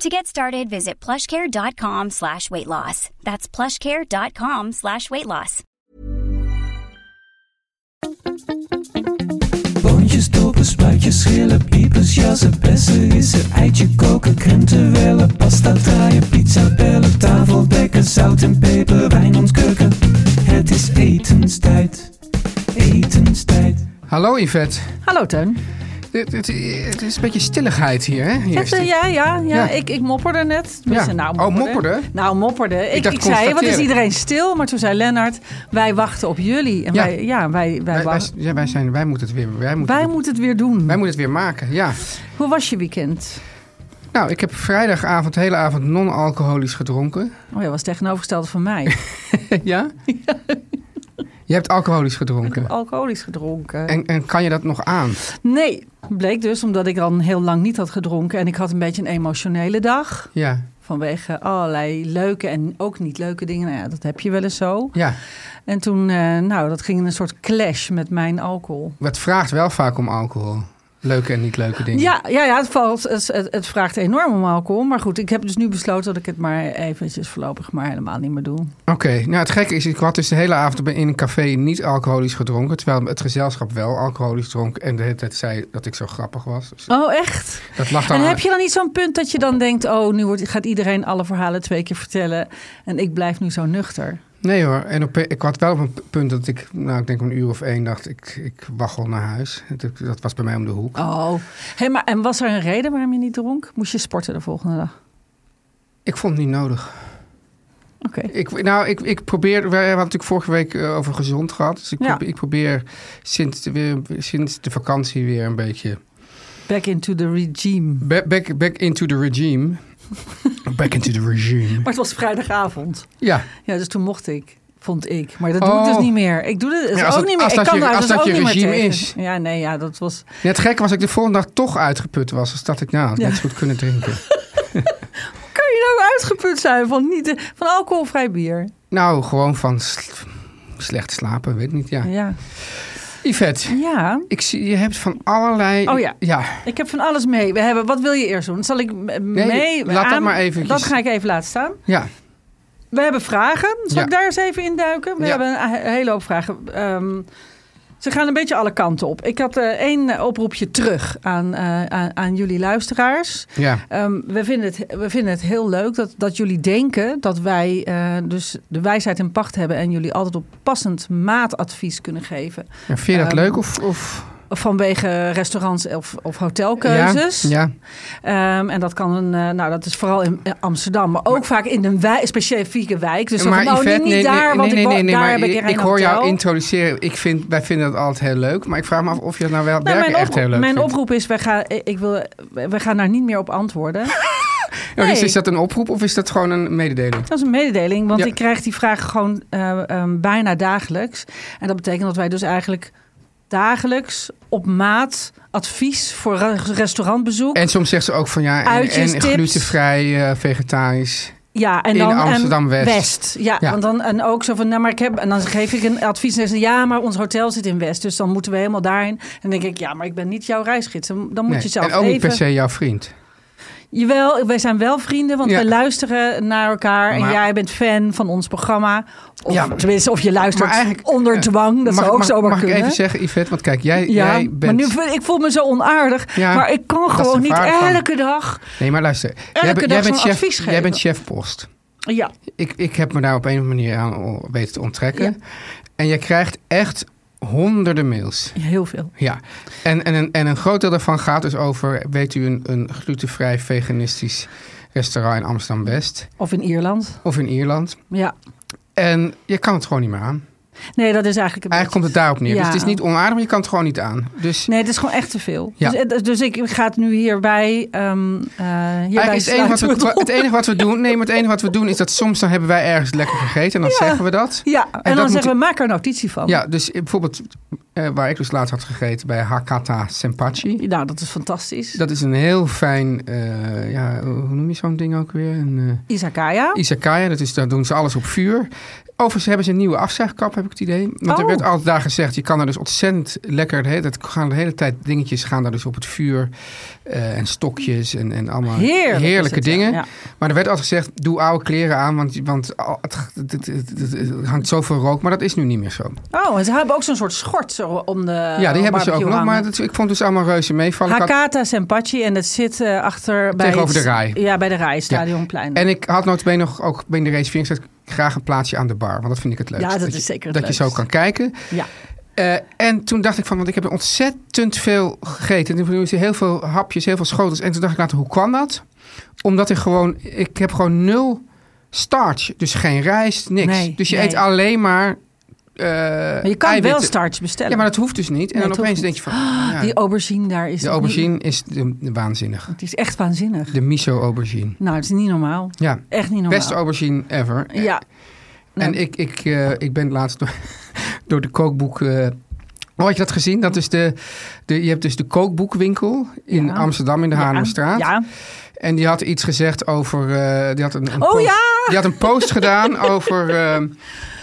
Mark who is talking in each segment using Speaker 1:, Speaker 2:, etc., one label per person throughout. Speaker 1: To get started, visit plushcare.com slash weight loss. That's plushcare.com slash weight loss.
Speaker 2: Boontjes, dopen, spuitjes, schillen, piepers, jassen, bessen, rissen, eitje koken, krenten wellen, pasta draaien, pizza bellen, tafel dekken, zout en peper, wijn ontkurken. Het is etenstijd, etenstijd.
Speaker 3: Hallo Yvette.
Speaker 4: Hallo Teun.
Speaker 3: Het, het, het is een beetje stilligheid hier, hè? Hier is
Speaker 4: Het, eh,
Speaker 3: dit.
Speaker 4: ja, ja, ja,
Speaker 3: Ja.
Speaker 4: Ik, ik mopperde net. Tenminste,
Speaker 3: Ja.
Speaker 4: Nou,
Speaker 3: Oh,
Speaker 4: mopperde.
Speaker 3: mopperde?
Speaker 4: Nou, mopperde. Ik, ik,
Speaker 3: dacht
Speaker 4: zei, wat is
Speaker 3: constateren.
Speaker 4: iedereen stil? Maar toen zei Lennart, wij wachten op jullie. En
Speaker 3: Ja.
Speaker 4: wij, ja, wij, wij,
Speaker 3: Wij, wij,
Speaker 4: wachten.
Speaker 3: ja, wij, zijn, wij moeten het weer. Wij moeten,
Speaker 4: Wij moeten het weer doen.
Speaker 3: wij moeten het weer maken, ja.
Speaker 4: Hoe was je weekend?
Speaker 3: Nou, ik heb vrijdagavond de hele avond non-alcoholisch gedronken.
Speaker 4: Oh ja, was tegenovergesteld van mij.
Speaker 3: ja? Je hebt alcoholisch gedronken.
Speaker 4: Alcoholisch gedronken.
Speaker 3: En, en kan je dat nog aan?
Speaker 4: Nee, bleek dus omdat ik dan heel lang niet had gedronken. En ik had een beetje een emotionele dag.
Speaker 3: Ja,
Speaker 4: Vanwege allerlei leuke en ook niet leuke dingen. Nou ja, dat heb je wel eens zo.
Speaker 3: ja.
Speaker 4: En toen, eh, nou, dat ging in een soort clash met mijn alcohol.
Speaker 3: Het vraagt wel vaak om alcohol. Leuke en niet leuke dingen.
Speaker 4: Ja, ja, ja het, valt, het, het- het vraagt enorm om alcohol. Maar goed, ik heb dus nu besloten dat ik het maar eventjes voorlopig maar helemaal niet meer doe.
Speaker 3: Oké, nou het gekke is, ik had dus de hele avond bij- in een café niet alcoholisch gedronken. Terwijl het gezelschap wel alcoholisch dronk. En de hele tijd zei dat ik zo grappig was. Dus
Speaker 4: Oh, echt?
Speaker 3: dat lag dan
Speaker 4: En heb je dan niet zo'n punt dat je dan denkt... oh, nu wordt, gaat iedereen alle verhalen twee keer vertellen... en ik blijf nu zo nuchter.
Speaker 3: Nee hoor, en op, ik had wel op een punt dat ik, nou ik denk om een uur of één, dacht ik, ik waggel naar huis. Dat, dat was bij mij om de hoek.
Speaker 4: Oh, hey, maar, en was er een reden waarom je niet dronk? Moest je sporten de volgende dag?
Speaker 3: Ik vond het niet nodig.
Speaker 4: Oké.
Speaker 3: Ik, nou, ik, ik probeer, we hebben het natuurlijk vorige week eh, over gezond gehad. Dus ik
Speaker 4: Ja.
Speaker 3: probeer, ik probeer sinds, de, weer, sinds de vakantie weer een beetje
Speaker 4: Back into the regime.
Speaker 3: back, back, back into the regime. back into the regime.
Speaker 4: Maar het was vrijdagavond.
Speaker 3: Ja.
Speaker 4: Ja, dus toen mocht ik. Vond ik. Maar dat doe
Speaker 3: Oh.
Speaker 4: ik dus niet meer. Ik doe dit dus
Speaker 3: Ja,
Speaker 4: ook
Speaker 3: als dat-
Speaker 4: niet meer.
Speaker 3: als
Speaker 4: ik
Speaker 3: dat
Speaker 4: kan
Speaker 3: je-
Speaker 4: daar
Speaker 3: als
Speaker 4: dus
Speaker 3: dat
Speaker 4: ook
Speaker 3: je
Speaker 4: niet meer
Speaker 3: regime
Speaker 4: tegen.
Speaker 3: is.
Speaker 4: Ja, nee, ja, dat was...
Speaker 3: Net gek was ik de volgende dag toch uitgeput was. Dus dat ik, nou, had
Speaker 4: Ja.
Speaker 3: net zo goed kunnen drinken.
Speaker 4: Kan je nou uitgeput zijn van, niet, eh, van alcoholvrij bier?
Speaker 3: nou, gewoon van sl- slecht slapen, weet niet. Ja.
Speaker 4: Ja.
Speaker 3: Yvette,
Speaker 4: ja,
Speaker 3: ik zie, je hebt van allerlei...
Speaker 4: Oh ja.
Speaker 3: Ja,
Speaker 4: ik heb van alles mee. We hebben, wat wil je eerst doen? Zal ik m- mee?
Speaker 3: laat dat maar eventjes.
Speaker 4: Dat ga ik even laten staan.
Speaker 3: ja.
Speaker 4: We hebben vragen. Zal
Speaker 3: Ja.
Speaker 4: ik daar eens even induiken? We
Speaker 3: Ja.
Speaker 4: hebben een he- hele hoop vragen. Ehm, ze gaan een beetje alle kanten op. Ik had eh, één oproepje terug aan, eh, aan, aan jullie luisteraars.
Speaker 3: ja.
Speaker 4: Ehm, we, vinden het, we vinden het heel leuk dat, dat jullie denken dat wij eh, dus de wijsheid in pacht hebben en jullie altijd op passend maatadvies kunnen geven.
Speaker 3: Ja, vind je dat
Speaker 4: Ehm,
Speaker 3: leuk of... of
Speaker 4: Vanwege restaurants of, of hotelkeuzes.
Speaker 3: Ja, ja.
Speaker 4: Ehm, en dat kan een, eh, nou dat is vooral in eh, Amsterdam, maar ook vaak in een wij- specifieke wijk. Dus dan van, nou, niet, niet daar, want ik, wo- daar heb ik er geen
Speaker 3: ik hoor jou
Speaker 4: hotel.
Speaker 3: introduceren. Ik vind, wij vinden dat altijd heel leuk. Maar ik vraag me af of je het nou wel
Speaker 4: Nou,
Speaker 3: werken
Speaker 4: mijn
Speaker 3: echt heel leuk
Speaker 4: oproep, mijn
Speaker 3: vindt.
Speaker 4: oproep is, wij gaan, ik wil, we gaan daar niet meer op antwoorden.
Speaker 3: Ja, dus
Speaker 4: nee.
Speaker 3: is dat een oproep of is dat gewoon een mededeling?
Speaker 4: Dat is een mededeling, want
Speaker 3: Ja.
Speaker 4: ik krijg die vraag gewoon eh, ehm, bijna dagelijks. En dat betekent dat wij dus eigenlijk dagelijks op maat advies voor ra- restaurantbezoek.
Speaker 3: En soms zegt ze ook van ja, en,
Speaker 4: Uitjes,
Speaker 3: en
Speaker 4: tips.
Speaker 3: glutenvrij, eh, vegetarisch.
Speaker 4: ja, en
Speaker 3: in
Speaker 4: dan en
Speaker 3: Amsterdam-West.
Speaker 4: Ja,
Speaker 3: Ja.
Speaker 4: want dan en ook zo van, nou maar ik heb, en dan geef ik een advies en ze zeggen, ja, maar ons hotel zit in West, dus dan moeten we helemaal daarheen. En dan denk ik, ja, maar ik ben niet jouw reisgids, dan, dan moet
Speaker 3: Nee,
Speaker 4: je zelf
Speaker 3: en ook niet
Speaker 4: even.
Speaker 3: per se jouw vriend.
Speaker 4: Jawel, wij zijn wel vrienden, want
Speaker 3: Ja.
Speaker 4: we luisteren naar elkaar.
Speaker 3: Maar-
Speaker 4: en jij bent fan van ons programma. Of
Speaker 3: Ja, maar-
Speaker 4: tenminste, of je luistert
Speaker 3: Maar eigenlijk-
Speaker 4: onder
Speaker 3: ja.
Speaker 4: dwang. Dat
Speaker 3: mag
Speaker 4: zou ook
Speaker 3: mag,
Speaker 4: zomaar
Speaker 3: mag
Speaker 4: kunnen.
Speaker 3: ik even zeggen, Yvette? Want kijk, jij,
Speaker 4: ja,
Speaker 3: jij
Speaker 4: maar
Speaker 3: bent...
Speaker 4: nu, voel- ik voel me zo onaardig.
Speaker 3: Ja,
Speaker 4: maar ik kan
Speaker 3: dat is
Speaker 4: gewoon niet
Speaker 3: gevaarlijk van-
Speaker 4: elke dag.
Speaker 3: Nee, maar luister. Jij, bent-
Speaker 4: dag
Speaker 3: jij,
Speaker 4: zo'n
Speaker 3: bent chef,
Speaker 4: advies
Speaker 3: jij
Speaker 4: geven.
Speaker 3: bent chef Post.
Speaker 4: Ja,
Speaker 3: Ik, ik heb me daar op een of andere manier aan weten te onttrekken. En je krijgt echt honderden mails.
Speaker 4: heel veel.
Speaker 3: Ja, en, en, een, en een groot deel daarvan gaat dus over, weet u, een, een glutenvrij veganistisch restaurant in Amsterdam-West
Speaker 4: Of in Ierland.
Speaker 3: of in Ierland.
Speaker 4: Ja.
Speaker 3: En je kan het gewoon niet meer aan.
Speaker 4: Nee, dat is eigenlijk een
Speaker 3: Eigenlijk komt het daarop neer.
Speaker 4: Ja.
Speaker 3: Dus het is niet onaardig, maar je kan het gewoon niet aan. Dus
Speaker 4: Nee, het is gewoon echt te veel.
Speaker 3: Ja.
Speaker 4: Dus, eh, dus ik ik ga het nu hierbij. ehm eh hierbij
Speaker 3: eigenlijk is het enige, wat
Speaker 4: sluiten
Speaker 3: we,
Speaker 4: we
Speaker 3: het enige wat we doen, nee, maar het enige wat we doen is dat soms dan hebben wij ergens lekker gegeten en dan zeggen we dat.
Speaker 4: Ja, en,
Speaker 3: dat
Speaker 4: dan
Speaker 3: moet-
Speaker 4: zeggen we, maak er een notitie van.
Speaker 3: Ja, dus bijvoorbeeld eh, waar ik dus laatst had gegeten bij Hakata Senpachi.
Speaker 4: Nou, dat is fantastisch.
Speaker 3: Dat is een heel fijn, eh, ja, hoe noem je zo'n ding ook weer? Een, eh,
Speaker 4: Izakaya.
Speaker 3: Izakaya, dat is, daar doen ze alles op vuur. Overigens hebben ze een nieuwe afzuigkap, heb ik het idee. Want er
Speaker 4: Oh.
Speaker 3: werd altijd daar gezegd, je kan er dus ontzettend lekker... De hele, tijd- gaan de hele tijd dingetjes gaan daar dus op het vuur. eh, en stokjes en, en allemaal
Speaker 4: Heerlijk is
Speaker 3: heerlijke
Speaker 4: het, ja.
Speaker 3: dingen.
Speaker 4: Ja.
Speaker 3: Maar er werd altijd gezegd, doe oude kleren aan, want, want al- het, het- het- het- het hangt zoveel rook. Maar dat is nu niet meer zo.
Speaker 4: Oh, en ze hebben ook zo'n soort schort zo om de eh,
Speaker 3: ja, die hebben ze ook
Speaker 4: barbecue
Speaker 3: nog,
Speaker 4: hangen.
Speaker 3: maar dat, ik vond dus allemaal reuze meevallen. Ik had-
Speaker 4: Hakata Senpachi en dat zit eh, achter bij
Speaker 3: Tegenover
Speaker 4: het-
Speaker 3: de Rai.
Speaker 4: Ja, bij de Rai, Stadionplein.
Speaker 3: En ik had notabene nog ook binnen de race 4 gezegd, graag een plaatsje aan de bar. Want dat vind ik het leukst.
Speaker 4: Ja, dat
Speaker 3: je-
Speaker 4: is zeker het
Speaker 3: Dat je zo
Speaker 4: leukst.
Speaker 3: kan kijken.
Speaker 4: Ja.
Speaker 3: Eh, en toen dacht ik van, want ik heb ontzettend veel gegeten. En toen is er heel veel hapjes, heel veel schotels. En toen dacht ik later, hoe kwam dat? Omdat ik gewoon, ik heb gewoon nul starch. Dus geen rijst, niks.
Speaker 4: Nee,
Speaker 3: dus je
Speaker 4: nee.
Speaker 3: eet alleen maar eh
Speaker 4: maar je kan
Speaker 3: eiwitten.
Speaker 4: wel starch bestellen.
Speaker 3: Ja, maar dat hoeft dus niet. En dan
Speaker 4: Nee, dat
Speaker 3: opeens
Speaker 4: hoeft
Speaker 3: denk je van, oh, ja,
Speaker 4: Die aubergine daar is...
Speaker 3: de aubergine is de, de waanzinnig.
Speaker 4: Het is echt waanzinnig.
Speaker 3: De miso aubergine.
Speaker 4: Nou, het is niet normaal.
Speaker 3: Ja,
Speaker 4: Echt niet normaal.
Speaker 3: beste aubergine ever.
Speaker 4: Ja.
Speaker 3: En
Speaker 4: Nou.
Speaker 3: ik, ik, eh, ik ben laatst door, door de kookboek. eh, oh, had je dat gezien? Dat is de, de, je hebt dus de kookboekwinkel in
Speaker 4: Ja.
Speaker 3: Amsterdam in de
Speaker 4: Ja.
Speaker 3: Haarlemstraat.
Speaker 4: Ja.
Speaker 3: En die had iets gezegd over. eh, die had een, een
Speaker 4: Oh
Speaker 3: post,
Speaker 4: ja!
Speaker 3: Die had een post gedaan over. eh,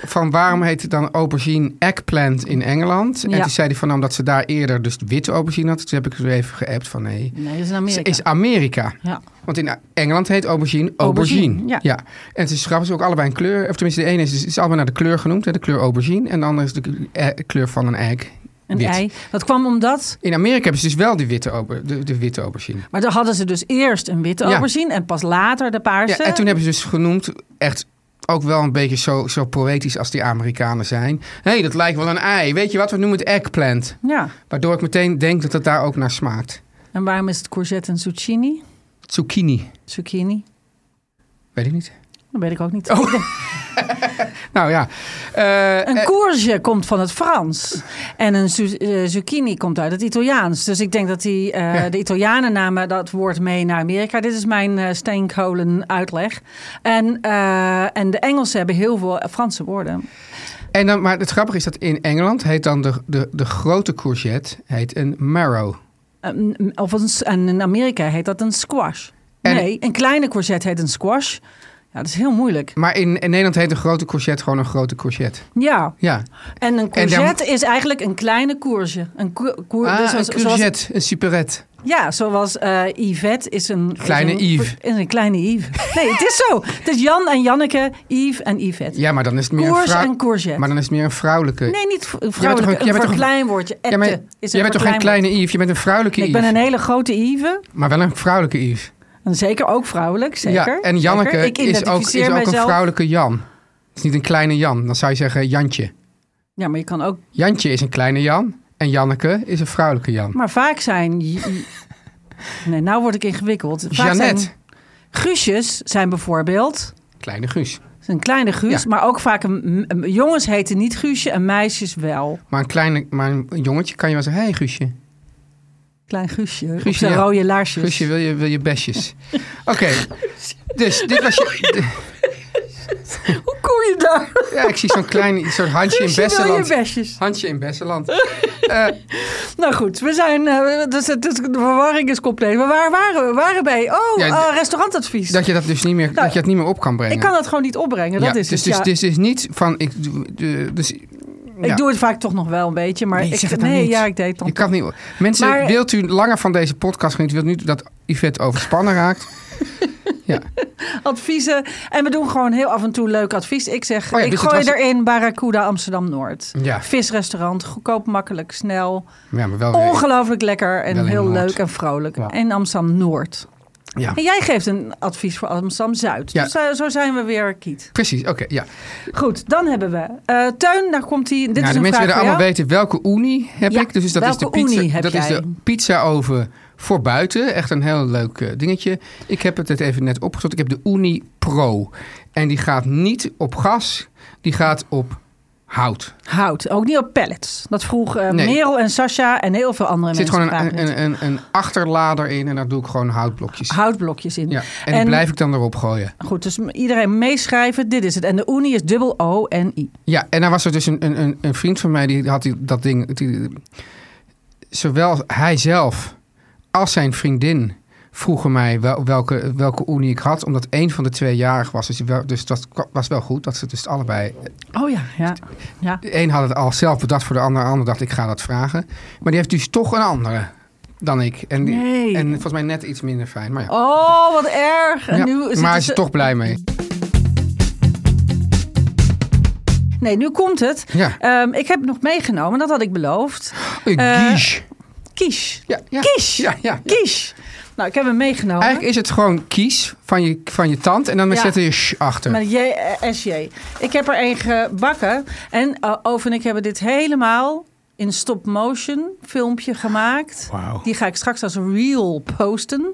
Speaker 3: van waarom heet het dan aubergine eggplant in Engeland? En
Speaker 4: Ja.
Speaker 3: toen zei hij van nou, omdat ze daar eerder dus witte aubergine had. Toen heb ik er even geappt van nee.
Speaker 4: Nee, dat is in
Speaker 3: Het
Speaker 4: Amerika.
Speaker 3: is Amerika.
Speaker 4: Ja.
Speaker 3: Want in Engeland heet aubergine aubergine.
Speaker 4: Aubergine, ja.
Speaker 3: En het is grappig, ze ook allebei een kleur. Of tenminste, de ene is, het is allemaal naar de kleur genoemd, hè, de kleur aubergine. En de andere is de k- eh, kleur van een egg.
Speaker 4: Een
Speaker 3: wit.
Speaker 4: ei. Dat kwam omdat...
Speaker 3: In Amerika hebben ze dus wel die witte auber, de, de witte aubergine.
Speaker 4: Maar dan hadden ze dus eerst een witte
Speaker 3: Ja.
Speaker 4: aubergine en pas later de
Speaker 3: Ja,
Speaker 4: paarse.
Speaker 3: en toen hebben ze dus genoemd, echt ook wel een beetje zo, zo poëtisch als die Amerikanen zijn. Hé, hey, dat lijkt wel een ei. Weet je wat, we noemen het eggplant.
Speaker 4: Ja.
Speaker 3: Waardoor ik meteen denk dat het daar ook naar smaakt.
Speaker 4: En waarom is het courgette en zucchini?
Speaker 3: Zucchini,
Speaker 4: Zucchini?
Speaker 3: weet ik niet.
Speaker 4: Dat weet ik ook niet.
Speaker 3: Nou ja. Oh. Eh,
Speaker 4: Een courge komt van het Frans. En een zu- eh, zucchini komt uit het Italiaans. Dus ik denk dat die, eh,
Speaker 3: Ja.
Speaker 4: de Italianen namen dat woord mee naar Amerika. Dit is mijn eh steenkolen uitleg. En, eh, en de Engelsen hebben heel veel Franse woorden.
Speaker 3: En dan, maar het grappige is dat in Engeland heet dan de, de, de grote courgette heet een marrow.
Speaker 4: Een- Ehm, of een, s- en in Amerika heet dat een squash.
Speaker 3: En-
Speaker 4: nee, een kleine courgette heet een squash. Ja, dat is heel moeilijk.
Speaker 3: Maar in, in Nederland heet een grote courgette gewoon een grote courgette.
Speaker 4: Ja,
Speaker 3: Ja.
Speaker 4: en een
Speaker 3: daar-
Speaker 4: courgette is eigenlijk een kleine courge. Een, cour, cour-
Speaker 3: Ah,
Speaker 4: dus
Speaker 3: een
Speaker 4: zoals- zoals-
Speaker 3: courgette, een superette.
Speaker 4: Ja, zoals eh, Yvette is een...
Speaker 3: Kleine
Speaker 4: is een,
Speaker 3: Yves.
Speaker 4: Is een kleine Yves. Nee, het is zo. Het is Jan en Janneke, Yves en Yvette.
Speaker 3: Ja, maar dan is het meer een
Speaker 4: Courge
Speaker 3: vrouw-
Speaker 4: en courgette.
Speaker 3: Maar dan is het meer een vrouwelijke.
Speaker 4: Nee, niet vr-
Speaker 3: jij bent toch
Speaker 4: vrouwelijke.
Speaker 3: een- jij bent
Speaker 4: een
Speaker 3: toch een-
Speaker 4: verkleinwoordje.
Speaker 3: Ja, maar
Speaker 4: Ette is een
Speaker 3: jij bent toch geen
Speaker 4: verkleinwoord.
Speaker 3: kleine Yves, je bent een vrouwelijke
Speaker 4: Ik
Speaker 3: Yves.
Speaker 4: ben een hele grote Yves.
Speaker 3: Maar wel een vrouwelijke Yves.
Speaker 4: En zeker ook vrouwelijk, zeker.
Speaker 3: ja, en Janneke
Speaker 4: Zeker. Ik
Speaker 3: is ook, is
Speaker 4: identificeer
Speaker 3: ook een
Speaker 4: mijzelf-
Speaker 3: vrouwelijke Jan. Het is niet een kleine Jan, dan zou je zeggen Jantje.
Speaker 4: Ja, maar je kan ook...
Speaker 3: Jantje is een kleine Jan en Janneke is een vrouwelijke Jan.
Speaker 4: Maar vaak zijn... j- j- Nee, nou word ik ingewikkeld. Vaak
Speaker 3: Jeannette,
Speaker 4: zijn... Guusjes zijn bijvoorbeeld...
Speaker 3: kleine Guus.
Speaker 4: Een kleine Guus,
Speaker 3: Ja.
Speaker 4: maar ook vaak... Een, een- jongens heten niet Guusje en meisjes wel.
Speaker 3: Maar een, kleine, maar een jongetje kan je wel zeggen, hé hey, Guusje.
Speaker 4: Klein Guusje. Guusje
Speaker 3: Guusje,
Speaker 4: zijn
Speaker 3: ja.
Speaker 4: rode laarsjes.
Speaker 3: Guusje, wil je, wil je bestjes? Oké, dus dit was je...
Speaker 4: Hoe kom je daar?
Speaker 3: Ja, ik zie zo'n klein soort handje in
Speaker 4: Guusje wil je
Speaker 3: Besseland.
Speaker 4: besjes.
Speaker 3: Handje in Besseland.
Speaker 4: Nou goed, we zijn... eh, dus, het- het- de verwarring is compleet. Maar waar waren we? We waren bij... Oh,
Speaker 3: Ja,
Speaker 4: eh, restaurantadvies.
Speaker 3: Dat je dat dus niet meer, dat je dat niet meer op kan brengen.
Speaker 4: Nou, ik kan dat gewoon niet opbrengen. Dat
Speaker 3: Ja,
Speaker 4: is
Speaker 3: dus,
Speaker 4: het.
Speaker 3: dus,
Speaker 4: ja.
Speaker 3: dus is niet van... Ik, doe- de- dus, ja.
Speaker 4: Ik doe het vaak toch nog wel een beetje. Maar
Speaker 3: Nee,
Speaker 4: ik,
Speaker 3: zeg het nou
Speaker 4: nee
Speaker 3: niet.
Speaker 4: ja, ik deed het dan.
Speaker 3: Je kan het niet... Mensen,
Speaker 4: Maar-
Speaker 3: wilt u langer van deze podcast genieten? Wilt u niet dat Yvette overspannen raakt? ja.
Speaker 4: adviezen. En we doen gewoon heel af en toe leuk advies. Ik zeg,
Speaker 3: Oh ja,
Speaker 4: ik
Speaker 3: dus het
Speaker 4: gooi
Speaker 3: was-
Speaker 4: erin Barracuda Amsterdam Noord.
Speaker 3: Ja. Oh,
Speaker 4: Visrestaurant, goedkoop, makkelijk, snel.
Speaker 3: ja, maar wel weer...
Speaker 4: Ongelooflijk lekker en
Speaker 3: Wel in
Speaker 4: heel
Speaker 3: Noord.
Speaker 4: leuk en vrolijk.
Speaker 3: Ja.
Speaker 4: En Amsterdam Noord.
Speaker 3: Ja.
Speaker 4: En jij geeft een advies voor Amsterdam-Zuid.
Speaker 3: Ja.
Speaker 4: Dus eh, zo zijn we weer kiet.
Speaker 3: Precies, oké, ja.
Speaker 4: Goed, dan hebben we... eh Teun, daar komt hij. Dit
Speaker 3: Nou,
Speaker 4: is
Speaker 3: de mensen
Speaker 4: een vraag
Speaker 3: willen
Speaker 4: voor
Speaker 3: allemaal
Speaker 4: jou.
Speaker 3: weten welke uni heb
Speaker 4: Ja,
Speaker 3: ik. Dus dat is de
Speaker 4: welke oenie
Speaker 3: pizza,
Speaker 4: heb
Speaker 3: dat is
Speaker 4: jij?
Speaker 3: de pizzaoven voor buiten. Echt een heel leuk eh, dingetje. Ik heb het net even net opgezocht. Ik heb de Uni Pro. En die gaat niet op gas, die gaat op hout.
Speaker 4: Hout, ook niet op pallets. Dat vroeg eh,
Speaker 3: Nee.
Speaker 4: Merel en Sasha en heel veel andere
Speaker 3: Er zit
Speaker 4: mensen.
Speaker 3: gewoon
Speaker 4: vragen
Speaker 3: een,
Speaker 4: dit.
Speaker 3: een, een, een achterlader in en daar doe ik gewoon houtblokjes.
Speaker 4: Houtblokjes in.
Speaker 3: Ja, en, die blijf ik dan erop gooien.
Speaker 4: Goed, dus iedereen meeschrijven. Dit is het. En de Unie is dubbel O-N-I.
Speaker 3: Ja, en daar was er dus een, een, een- een vriend van mij die had die, dat ding. Die, zowel hij zelf als zijn vriendin vroegen mij wel- welke, welke Unie ik had. Omdat één van de twee jarig was. Dus, wel- dus dat kwa- was wel goed. Dat ze dus allebei.
Speaker 4: Oh ja, ja. ja.
Speaker 3: De een had het al zelf bedacht voor de ander. De ander dacht ik ga dat vragen. Maar die heeft dus toch een andere dan ik. En, die-
Speaker 4: Nee.
Speaker 3: en volgens mij net iets minder fijn. Maar ja.
Speaker 4: Oh, wat erg. En
Speaker 3: Ja,
Speaker 4: nu dus zitten
Speaker 3: maar hij is
Speaker 4: ze-
Speaker 3: er toch blij mee.
Speaker 4: Nee, nu komt het.
Speaker 3: Ja.
Speaker 4: Ehm, ik heb nog meegenomen, dat had ik beloofd.
Speaker 3: Een
Speaker 4: Eh,
Speaker 3: quiche.
Speaker 4: Kies.
Speaker 3: Ja, ja.
Speaker 4: Kies.
Speaker 3: Ja, ja, ja.
Speaker 4: Kies. Nou, ik heb hem meegenomen.
Speaker 3: Eigenlijk is het gewoon kies van je, van je tand en dan
Speaker 4: Ja.
Speaker 3: zetten je sh achter.
Speaker 4: Met J eh, SJ. Ik heb er een gebakken. En eh, Ove en ik hebben dit helemaal in stop-motion filmpje gemaakt.
Speaker 3: Wauw.
Speaker 4: Die ga ik straks als reel posten.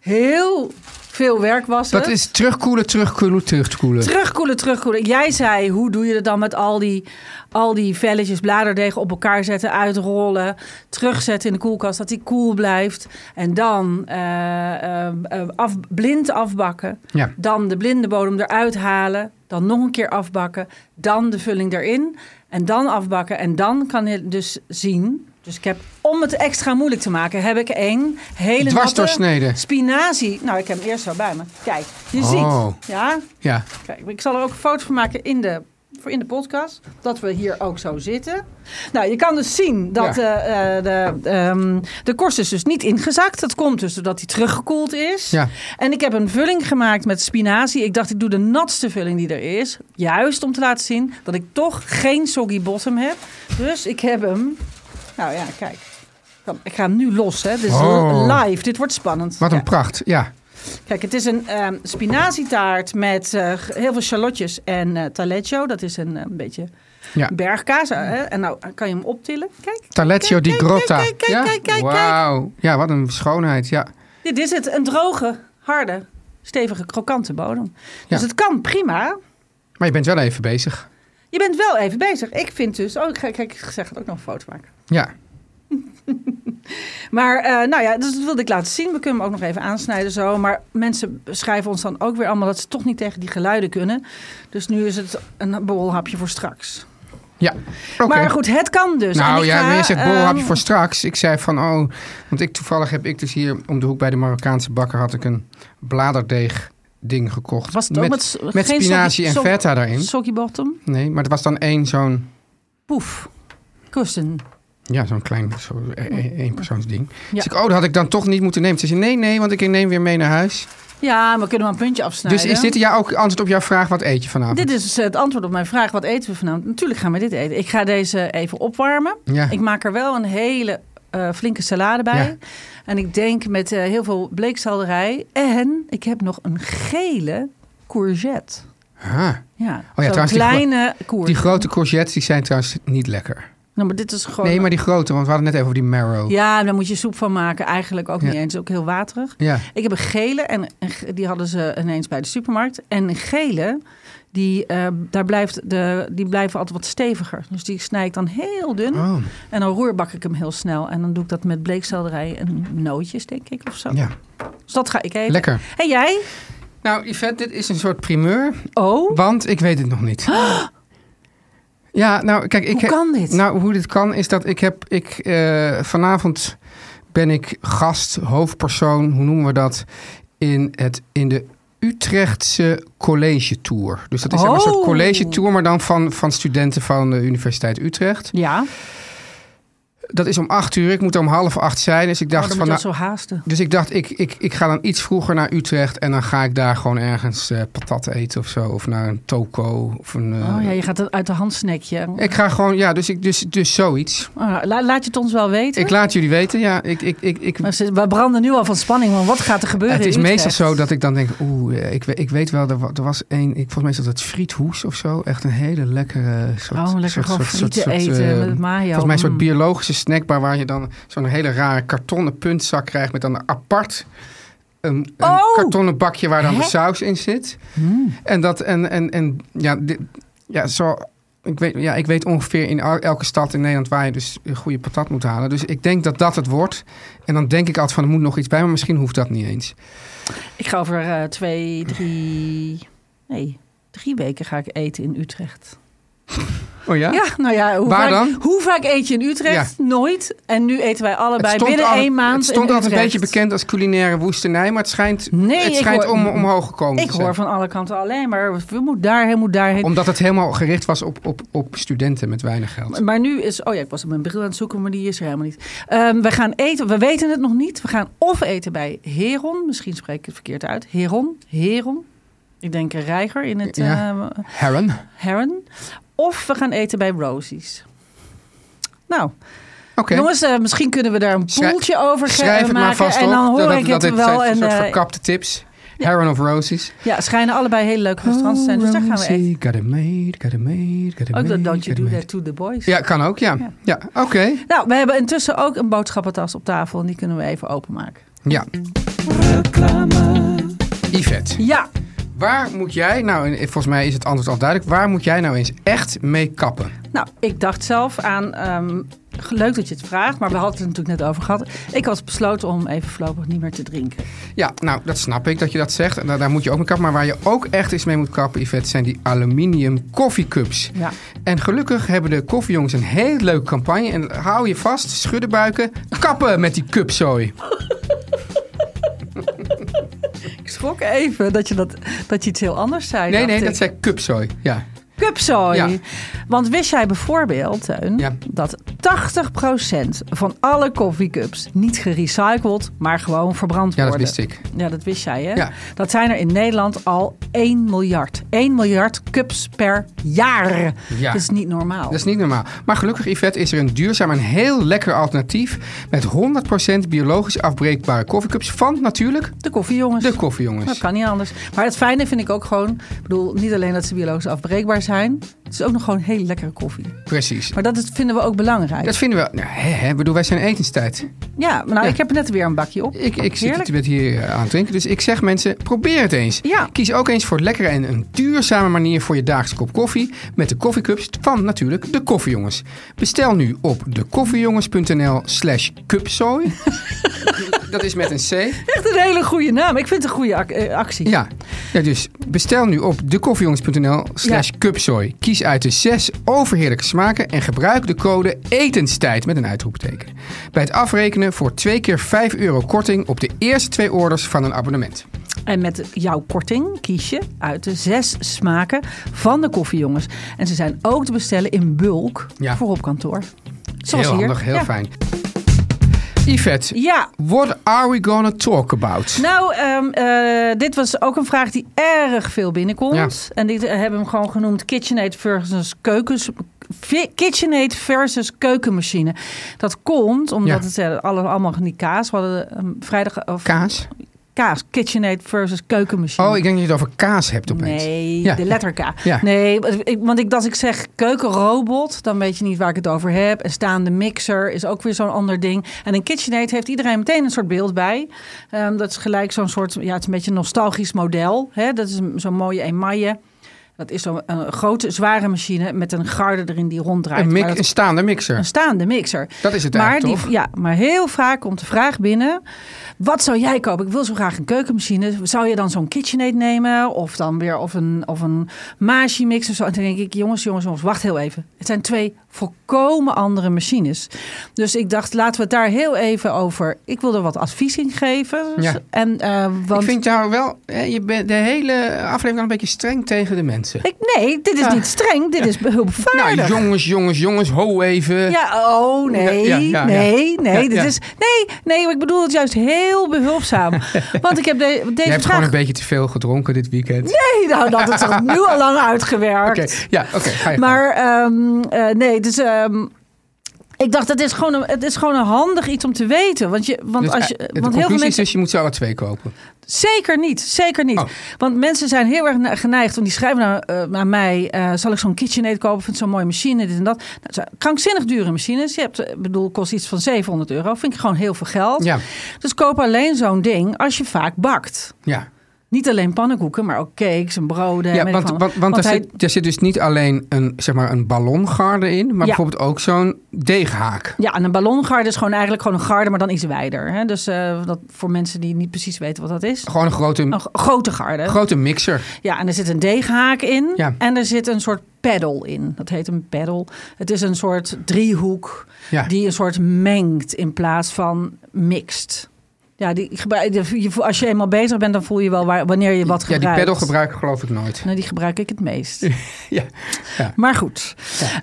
Speaker 4: Heel veel werk was
Speaker 3: Dat
Speaker 4: het.
Speaker 3: is terugkoelen, terugkoelen, terugkoelen.
Speaker 4: Terugkoelen, terugkoelen. Jij zei, hoe doe je dat dan met al die, al die velletjes bladerdeeg op elkaar zetten, uitrollen, terugzetten in de koelkast, dat die koel blijft. En dan eh, eh, eh, af, blind afbakken.
Speaker 3: Ja.
Speaker 4: Dan de blinde bodem eruit halen. Dan nog een keer afbakken. Dan de vulling erin. En dan afbakken. En dan kan je dus zien. Dus ik heb, om het extra moeilijk te maken, heb ik één hele
Speaker 3: Dwarsdoorsnede.
Speaker 4: natte spinazie. Nou, ik heb hem eerst wel bij me. Kijk, je
Speaker 3: Oh.
Speaker 4: ziet. Ja,
Speaker 3: Ja.
Speaker 4: Kijk, ik zal er ook een foto van maken in de, voor in de podcast. Dat we hier ook zo zitten. Nou, je kan dus zien dat eh, eh, de, ehm, de korst is dus niet ingezakt. Dat komt dus doordat hij teruggekoeld is.
Speaker 3: Ja.
Speaker 4: En ik heb een vulling gemaakt met spinazie. Ik dacht, ik doe de natste vulling die er is. Juist om te laten zien dat ik toch geen soggy bottom heb. Dus ik heb hem... Nou ja, kijk. Ik ga hem nu los, hè. Dit is
Speaker 3: Oh.
Speaker 4: live. Dit wordt spannend.
Speaker 3: Wat een
Speaker 4: Ja.
Speaker 3: pracht. Ja.
Speaker 4: Kijk, het is een ehm spinazietaart met eh, g- heel veel shallotjes en eh taleggio. Dat is een, eh, een beetje
Speaker 3: ja.
Speaker 4: bergkaas. eh, hè? En nou kan je hem optillen. Kijk,
Speaker 3: Taleggio
Speaker 4: Kijk,
Speaker 3: di
Speaker 4: kijk,
Speaker 3: Grotta.
Speaker 4: kijk, kijk,
Speaker 3: ja?
Speaker 4: kijk, kijk, kijk.
Speaker 3: Wauw. Ja, wat een schoonheid. Ja.
Speaker 4: dit is het. Een droge, harde, stevige, krokante bodem. Dus
Speaker 3: Ja.
Speaker 4: het kan prima.
Speaker 3: Maar je bent wel even bezig.
Speaker 4: Je bent wel even bezig. Ik vind dus... Oh, ik ga, kijk, ik zeg het ook nog een foto maken.
Speaker 3: Ja.
Speaker 4: Maar eh, nou ja, dus dat wilde ik laten zien. We kunnen hem ook nog even aansnijden zo. Maar mensen schrijven ons dan ook weer allemaal... dat ze toch niet tegen die geluiden kunnen. Dus nu is het een borrelhapje voor straks.
Speaker 3: Ja. Oké.
Speaker 4: Maar goed, het kan dus. En
Speaker 3: Nou
Speaker 4: ik
Speaker 3: ja,
Speaker 4: ga,
Speaker 3: wanneer je zegt
Speaker 4: ehm,
Speaker 3: bol heb je voor straks. Ik zei van, oh, want ik toevallig heb ik dus hier om de hoek bij de Marokkaanse bakker had ik een bladerdeeg ding gekocht.
Speaker 4: Was het ook
Speaker 3: met,
Speaker 4: met s-
Speaker 3: met
Speaker 4: geen
Speaker 3: spinazie
Speaker 4: soggy-
Speaker 3: en
Speaker 4: sog-
Speaker 3: feta daarin.
Speaker 4: Soggy bottom.
Speaker 3: Nee, maar het was dan één zo'n
Speaker 4: Poef. Kussen.
Speaker 3: Ja, zo'n klein zo, e- e- eenpersoonsding.
Speaker 4: Ja.
Speaker 3: Dus ik, oh, dat had ik dan toch niet moeten nemen. Ze zei, nee, nee, want ik neem weer mee naar huis.
Speaker 4: Nou, Ja, maar we kunnen maar een puntje afsnijden.
Speaker 3: Dus is dit ja, ook antwoord op jouw vraag, wat eet je vanavond?
Speaker 4: Dit is het antwoord op mijn vraag. Wat eten we vanavond? Natuurlijk gaan we dit eten. Ik ga deze even opwarmen.
Speaker 3: Ja.
Speaker 4: Ik maak er wel een hele eh, flinke salade bij.
Speaker 3: Ja.
Speaker 4: En ik denk met eh, heel veel bleekselderij. En ik heb nog een gele courgette.
Speaker 3: Ah,
Speaker 4: Ja, zo'n
Speaker 3: trouwens, die gro-
Speaker 4: kleine courgette.
Speaker 3: die grote courgettes, die zijn trouwens niet lekker.
Speaker 4: nou, maar dit is gewoon...
Speaker 3: Nee, maar die grote, want we hadden het net over die marrow.
Speaker 4: Ja, daar moet je soep van maken. Eigenlijk ook
Speaker 3: Oh. Ja.
Speaker 4: niet eens. Ook heel waterig.
Speaker 3: Ja.
Speaker 4: Ik heb een gele en een ge- die hadden ze ineens bij de supermarkt. En een gele, die, eh, daar blijft de, die blijven altijd wat steviger. Dus die snij ik dan heel dun.
Speaker 3: Oh,
Speaker 4: En dan roerbak ik hem heel snel. En dan doe ik dat met bleekselderij en nootjes, denk ik, of zo.
Speaker 3: ja.
Speaker 4: Dus dat ga ik eten.
Speaker 3: Lekker.
Speaker 4: En jij?
Speaker 3: Nou, Yvette, dit is een soort primeur,
Speaker 4: Oh,
Speaker 3: want ik weet het nog niet. Ja, nou, kijk, ik
Speaker 4: Hoe
Speaker 3: heb-
Speaker 4: kan dit?
Speaker 3: Nou, hoe dit kan is dat ik heb, ik eh, vanavond ben ik gast, hoofdpersoon, hoe noemen we dat, in, het, in de Utrechtse college tour. Dus dat is zeg maar een soort
Speaker 4: Oh.
Speaker 3: college tour, maar dan van, van studenten van de Universiteit Utrecht.
Speaker 4: ja.
Speaker 3: dat is om acht uur. Ik moet er om half acht zijn. Dus ik
Speaker 4: Oh,
Speaker 3: dacht
Speaker 4: dan moet
Speaker 3: van.
Speaker 4: je
Speaker 3: nou-
Speaker 4: dat zo haasten.
Speaker 3: Dus ik dacht, ik, ik, ik ga dan iets vroeger naar Utrecht en dan ga ik daar gewoon ergens eh, patat eten of zo. Of naar een toko. Of een, eh,
Speaker 4: Oh ja, je gaat dat uit de hand snackje.
Speaker 3: Ik ga gewoon, ja, dus, ik, dus, dus zoiets.
Speaker 4: Ah, la- laat je het ons wel weten.
Speaker 3: Ik laat jullie weten, ja. Ik, ik, ik, ik,
Speaker 4: Maar ze- We branden nu al van spanning, want wat gaat er gebeuren?
Speaker 3: Eh, het
Speaker 4: in
Speaker 3: is meestal
Speaker 4: Eh, Utrecht?
Speaker 3: zo dat ik dan denk, oeh, eh, ik, we- ik weet wel, er, wa- er was één, ik, volgens mij is dat het friethoes of zo. Echt een hele lekkere soort...
Speaker 4: Oh, lekker
Speaker 3: soort,
Speaker 4: gewoon
Speaker 3: soort- soort-
Speaker 4: frieten
Speaker 3: soort,
Speaker 4: eten
Speaker 3: eh,
Speaker 4: met mayo.
Speaker 3: Volgens mij een soort
Speaker 4: Mm.
Speaker 3: biologische snackbar waar je dan zo'n hele rare kartonnen puntzak krijgt met dan apart een, een
Speaker 4: Oh!
Speaker 3: kartonnen bakje waar dan de saus in zit.
Speaker 4: Hmm.
Speaker 3: En dat en en en ja, dit- ja zo. Ik weet, ja, ik weet ongeveer in el- elke stad in Nederland waar je dus een goede patat moet halen. Dus ik denk dat dat het wordt. En dan denk ik altijd van er moet nog iets bij, maar misschien hoeft dat niet eens.
Speaker 4: Ik ga over eh, twee, drie... Nee, drie weken ga ik eten in Utrecht.
Speaker 3: Oh ja?
Speaker 4: Ja, nou ja. Hoe
Speaker 3: Waar
Speaker 4: vaak,
Speaker 3: dan?
Speaker 4: Hoe vaak eet je in Utrecht? Nooit. En nu eten wij allebei binnen
Speaker 3: al-
Speaker 4: één maand
Speaker 3: het stond
Speaker 4: in
Speaker 3: altijd een beetje
Speaker 4: Utrecht.
Speaker 3: bekend als culinaire woestenij, maar het schijnt,
Speaker 4: Nee,
Speaker 3: het
Speaker 4: ik
Speaker 3: schijnt
Speaker 4: hoor-
Speaker 3: om, omhoog gekomen
Speaker 4: Ik
Speaker 3: te zijn.
Speaker 4: hoor van alle kanten alleen maar... We moeten daarheen, moet daarheen.
Speaker 3: Omdat het helemaal gericht was op, op, op studenten met weinig geld.
Speaker 4: Maar nu is... Oh ja, ik was op mijn bril aan het zoeken, maar die is er helemaal niet. Ehm, we gaan eten. We weten het nog niet. We gaan of eten bij Heron. Misschien spreek ik het verkeerd uit. Heron. Heron. Ik denk een reiger in het
Speaker 3: Ja.
Speaker 4: eh,
Speaker 3: Heron.
Speaker 4: Heron. Of we gaan eten bij Rosie's. Nou,
Speaker 3: Oké.
Speaker 4: jongens, eh, misschien kunnen we daar een
Speaker 3: Schrij-
Speaker 4: poeltje over ge-
Speaker 3: Schrijf het
Speaker 4: maken.
Speaker 3: maar vast
Speaker 4: en dan
Speaker 3: op.
Speaker 4: hoor
Speaker 3: dat,
Speaker 4: ik
Speaker 3: dat,
Speaker 4: het
Speaker 3: dit
Speaker 4: wel.
Speaker 3: zijn
Speaker 4: En,
Speaker 3: een soort
Speaker 4: eh,
Speaker 3: verkapte tips. Heron of Roses.
Speaker 4: ja, schijnen allebei hele leuke restaurants te zijn. Dus daar gaan we eten.
Speaker 3: Rosie, Got it made, got it made, got it
Speaker 4: Ook
Speaker 3: made,
Speaker 4: dat Don't You
Speaker 3: got it
Speaker 4: Do
Speaker 3: made.
Speaker 4: That To The Boys.
Speaker 3: Ja, kan ook, ja. Ja, oké.
Speaker 4: Nou, we hebben intussen ook een boodschappentas op tafel. En die kunnen we even openmaken.
Speaker 3: Ja. Yvette,
Speaker 4: Ja,
Speaker 3: waar moet jij, nou en volgens mij is het antwoord al duidelijk, waar moet jij nou eens echt mee kappen?
Speaker 4: nou, ik dacht zelf aan... ehm, leuk dat je het vraagt, maar we hadden het er natuurlijk net over gehad. Ik had besloten om even voorlopig niet meer te drinken.
Speaker 3: Ja, nou, dat snap ik dat je dat zegt. En daar, daar moet je ook mee kappen. Maar waar je ook echt eens mee moet kappen, Yvette, zijn die aluminium koffiecups.
Speaker 4: Ja.
Speaker 3: En gelukkig hebben de koffiejongens een heel leuke campagne. En hou je vast, schudden buiken, kappen met die cupzooi.
Speaker 4: Ik schrok even dat je, dat, dat je iets heel anders zei.
Speaker 3: Nee,
Speaker 4: dacht
Speaker 3: nee,
Speaker 4: ik.
Speaker 3: dat zei cupzooi. Ja.
Speaker 4: Cupzooi.
Speaker 3: Ja.
Speaker 4: Want wist jij bijvoorbeeld, Teun,
Speaker 3: Ja.
Speaker 4: dat 80% van alle koffiecups niet gerecycled, maar gewoon verbrand
Speaker 3: ja, dat
Speaker 4: worden?
Speaker 3: wist ik.
Speaker 4: Ja, dat wist jij, hè?
Speaker 3: Ja.
Speaker 4: Dat zijn er in Nederland al 1 miljard. 1 miljard cups per jaar.
Speaker 3: Ja.
Speaker 4: Dat is niet normaal.
Speaker 3: Dat is niet normaal. Maar gelukkig, Yvette, is er een duurzaam en heel lekker alternatief... met 100% biologisch afbreekbare koffiecups van natuurlijk
Speaker 4: De koffiejongens.
Speaker 3: de koffiejongens.
Speaker 4: Dat kan niet anders. Maar het fijne vind ik ook gewoon... Ik bedoel, niet alleen dat ze biologisch afbreekbaar zijn. Het is ook nog gewoon hele lekkere koffie.
Speaker 3: Precies.
Speaker 4: Maar dat is- vinden we ook belangrijk.
Speaker 3: Dat vinden we... Nou, hè, hè, ik bedoel, wij zijn etenstijd.
Speaker 4: Ja, maar nou,
Speaker 3: Ja.
Speaker 4: ik heb er net weer een bakje op.
Speaker 3: Ik, ik zit
Speaker 4: Heerlijk.
Speaker 3: het met hier eh, aan het drinken. Dus ik zeg mensen, probeer het eens.
Speaker 4: Ja.
Speaker 3: Kies ook eens voor lekkere en een duurzame manier voor je dagelijkse kop koffie. Met de koffiecups van natuurlijk de koffiejongens. Bestel nu op dekoffiejongens.nl slash cupzooi. Dat is met een C.
Speaker 4: Echt een hele goede naam. Ik vind het een goede ac- eh, actie.
Speaker 3: Ja. ja, dus bestel nu op dekoffiejongens.nl slash
Speaker 4: Ja.
Speaker 3: cupzooi. Kies uit de zes overheerlijke smaken en gebruik de code etenstijd met een uitroepteken. Bij het afrekenen voor twee keer 5 euro korting op de eerste twee orders van een abonnement.
Speaker 4: En met jouw korting kies je uit de zes smaken van de koffiejongens. En ze zijn ook te bestellen in bulk
Speaker 3: Ja.
Speaker 4: voor op kantoor. Zoals
Speaker 3: heel
Speaker 4: hier.
Speaker 3: handig, heel
Speaker 4: Ja.
Speaker 3: fijn. Yvette,
Speaker 4: Ja.
Speaker 3: what are we gonna talk about?
Speaker 4: Nou, ehm, eh, dit was ook een vraag die erg veel binnenkomt. En dit eh, hebben we hem gewoon genoemd KitchenAid versus keukens. vi- KitchenAid versus keukenmachine. Dat komt omdat
Speaker 3: Ja.
Speaker 4: het eh, alle, allemaal niet kaas. We hadden ehm, vrijdag of,
Speaker 3: Kaas?
Speaker 4: kaas. KitchenAid versus keukenmachine.
Speaker 3: Oh, ik denk dat je het over kaas hebt opeens.
Speaker 4: Nee,
Speaker 3: Ja.
Speaker 4: de letter K.
Speaker 3: Ja.
Speaker 4: Nee, want ik- want ik, als ik zeg keukenrobot, dan weet je niet waar ik het over heb. En staande mixer is ook weer zo'n ander ding. En een KitchenAid heeft iedereen meteen een soort beeld bij. Ehm, dat is gelijk zo'n soort, ja, het is een beetje een nostalgisch model. Hè? Dat is een- zo'n mooie emaille. Dat is zo'n een grote, zware machine met een garde erin die ronddraait.
Speaker 3: Een, mik-
Speaker 4: Maar dat-
Speaker 3: een staande mixer.
Speaker 4: een staande mixer.
Speaker 3: Dat is het
Speaker 4: maar
Speaker 3: eigenlijk, toch?
Speaker 4: Ja, maar heel vaak komt de vraag binnen: wat zou jij kopen? Ik wil zo graag een keukenmachine. Zou je dan zo'n KitchenAid nemen? Of dan weer of een, of een Magi mixer? Zo. En toen denk ik: jongens, jongens, jongens, wacht heel even. Het zijn twee volkomen andere machines. Dus ik dacht, laten we het daar heel even over. Ik wil er wat advies in geven.
Speaker 3: Ja.
Speaker 4: En, eh, want,
Speaker 3: Ik vind jou wel, hè, je bent de hele aflevering al een beetje streng tegen de mensen.
Speaker 4: Ik, nee, dit is
Speaker 3: Ja.
Speaker 4: niet streng. Dit is
Speaker 3: Nou,
Speaker 4: behulpvaardig.
Speaker 3: jongens, jongens, jongens, ho even.
Speaker 4: Ja, oh nee,
Speaker 3: Ja, ja, ja,
Speaker 4: nee,
Speaker 3: ja.
Speaker 4: nee.
Speaker 3: Ja,
Speaker 4: dit
Speaker 3: ja.
Speaker 4: Is, nee, nee, maar ik bedoel het juist heel behulpzaam. Want ik heb de- deze
Speaker 3: Je hebt
Speaker 4: vraag...
Speaker 3: gewoon een beetje te veel gedronken dit weekend.
Speaker 4: Nee, nou, dat is toch nu al lang uitgewerkt.
Speaker 3: Oké, ja, oké, ga je gang.
Speaker 4: Maar ehm, eh, nee, dus ehm, ik dacht, het is, gewoon een, het is gewoon een handig iets om te weten. Want, je, want,
Speaker 3: Dus,
Speaker 4: als
Speaker 3: eh,
Speaker 4: je,
Speaker 3: de
Speaker 4: want heel
Speaker 3: conclusie
Speaker 4: veel
Speaker 3: is
Speaker 4: mensen...
Speaker 3: dus je moet ze alle twee kopen.
Speaker 4: Zeker niet, zeker niet.
Speaker 3: Oh.
Speaker 4: Want mensen zijn heel erg na- geneigd, want die schrijven nou, eh, aan mij... eh, zal ik zo'n KitchenAid kopen, vind ik zo'n mooie machine, dit en dat. Nou, het zijn krankzinnig dure machines. Je hebt, eh, ik bedoel, kost iets van 700 euro. Vind ik gewoon heel veel geld.
Speaker 3: Ja,
Speaker 4: Dus koop alleen zo'n ding als je vaak bakt.
Speaker 3: ja.
Speaker 4: Niet alleen pannenkoeken, maar ook cakes en broden. en
Speaker 3: ja
Speaker 4: weet
Speaker 3: want,
Speaker 4: ik
Speaker 3: want,
Speaker 4: wat.
Speaker 3: want, daar,
Speaker 4: eh, hij-
Speaker 3: zit, daar zit dus niet alleen een, zeg maar een ballongarde in, maar bijvoorbeeld ook zo'n deeghaak.
Speaker 4: Ja, en een ballongarde is gewoon eigenlijk gewoon een garde, maar dan iets wijder. Hè? Dus eh, dat, voor mensen die niet precies weten wat dat is.
Speaker 3: Gewoon een grote,
Speaker 4: Een g- grote garde.
Speaker 3: grote mixer.
Speaker 4: ja, en er zit een deeghaak in.
Speaker 3: Ja.
Speaker 4: En er zit een soort peddel in. Dat heet een peddel. Het is een soort driehoek
Speaker 3: Ja.
Speaker 4: die een soort mengt in plaats van mixt. Ja, die, gebruik- de- je voel- als je eenmaal bezig bent, dan voel je wel waar, wanneer je wat
Speaker 3: ja,
Speaker 4: gebruikt.
Speaker 3: die pedal gebruik ik geloof ik nooit.
Speaker 4: Nou, die gebruik ik het meest.
Speaker 3: Ja,
Speaker 4: Maar goed.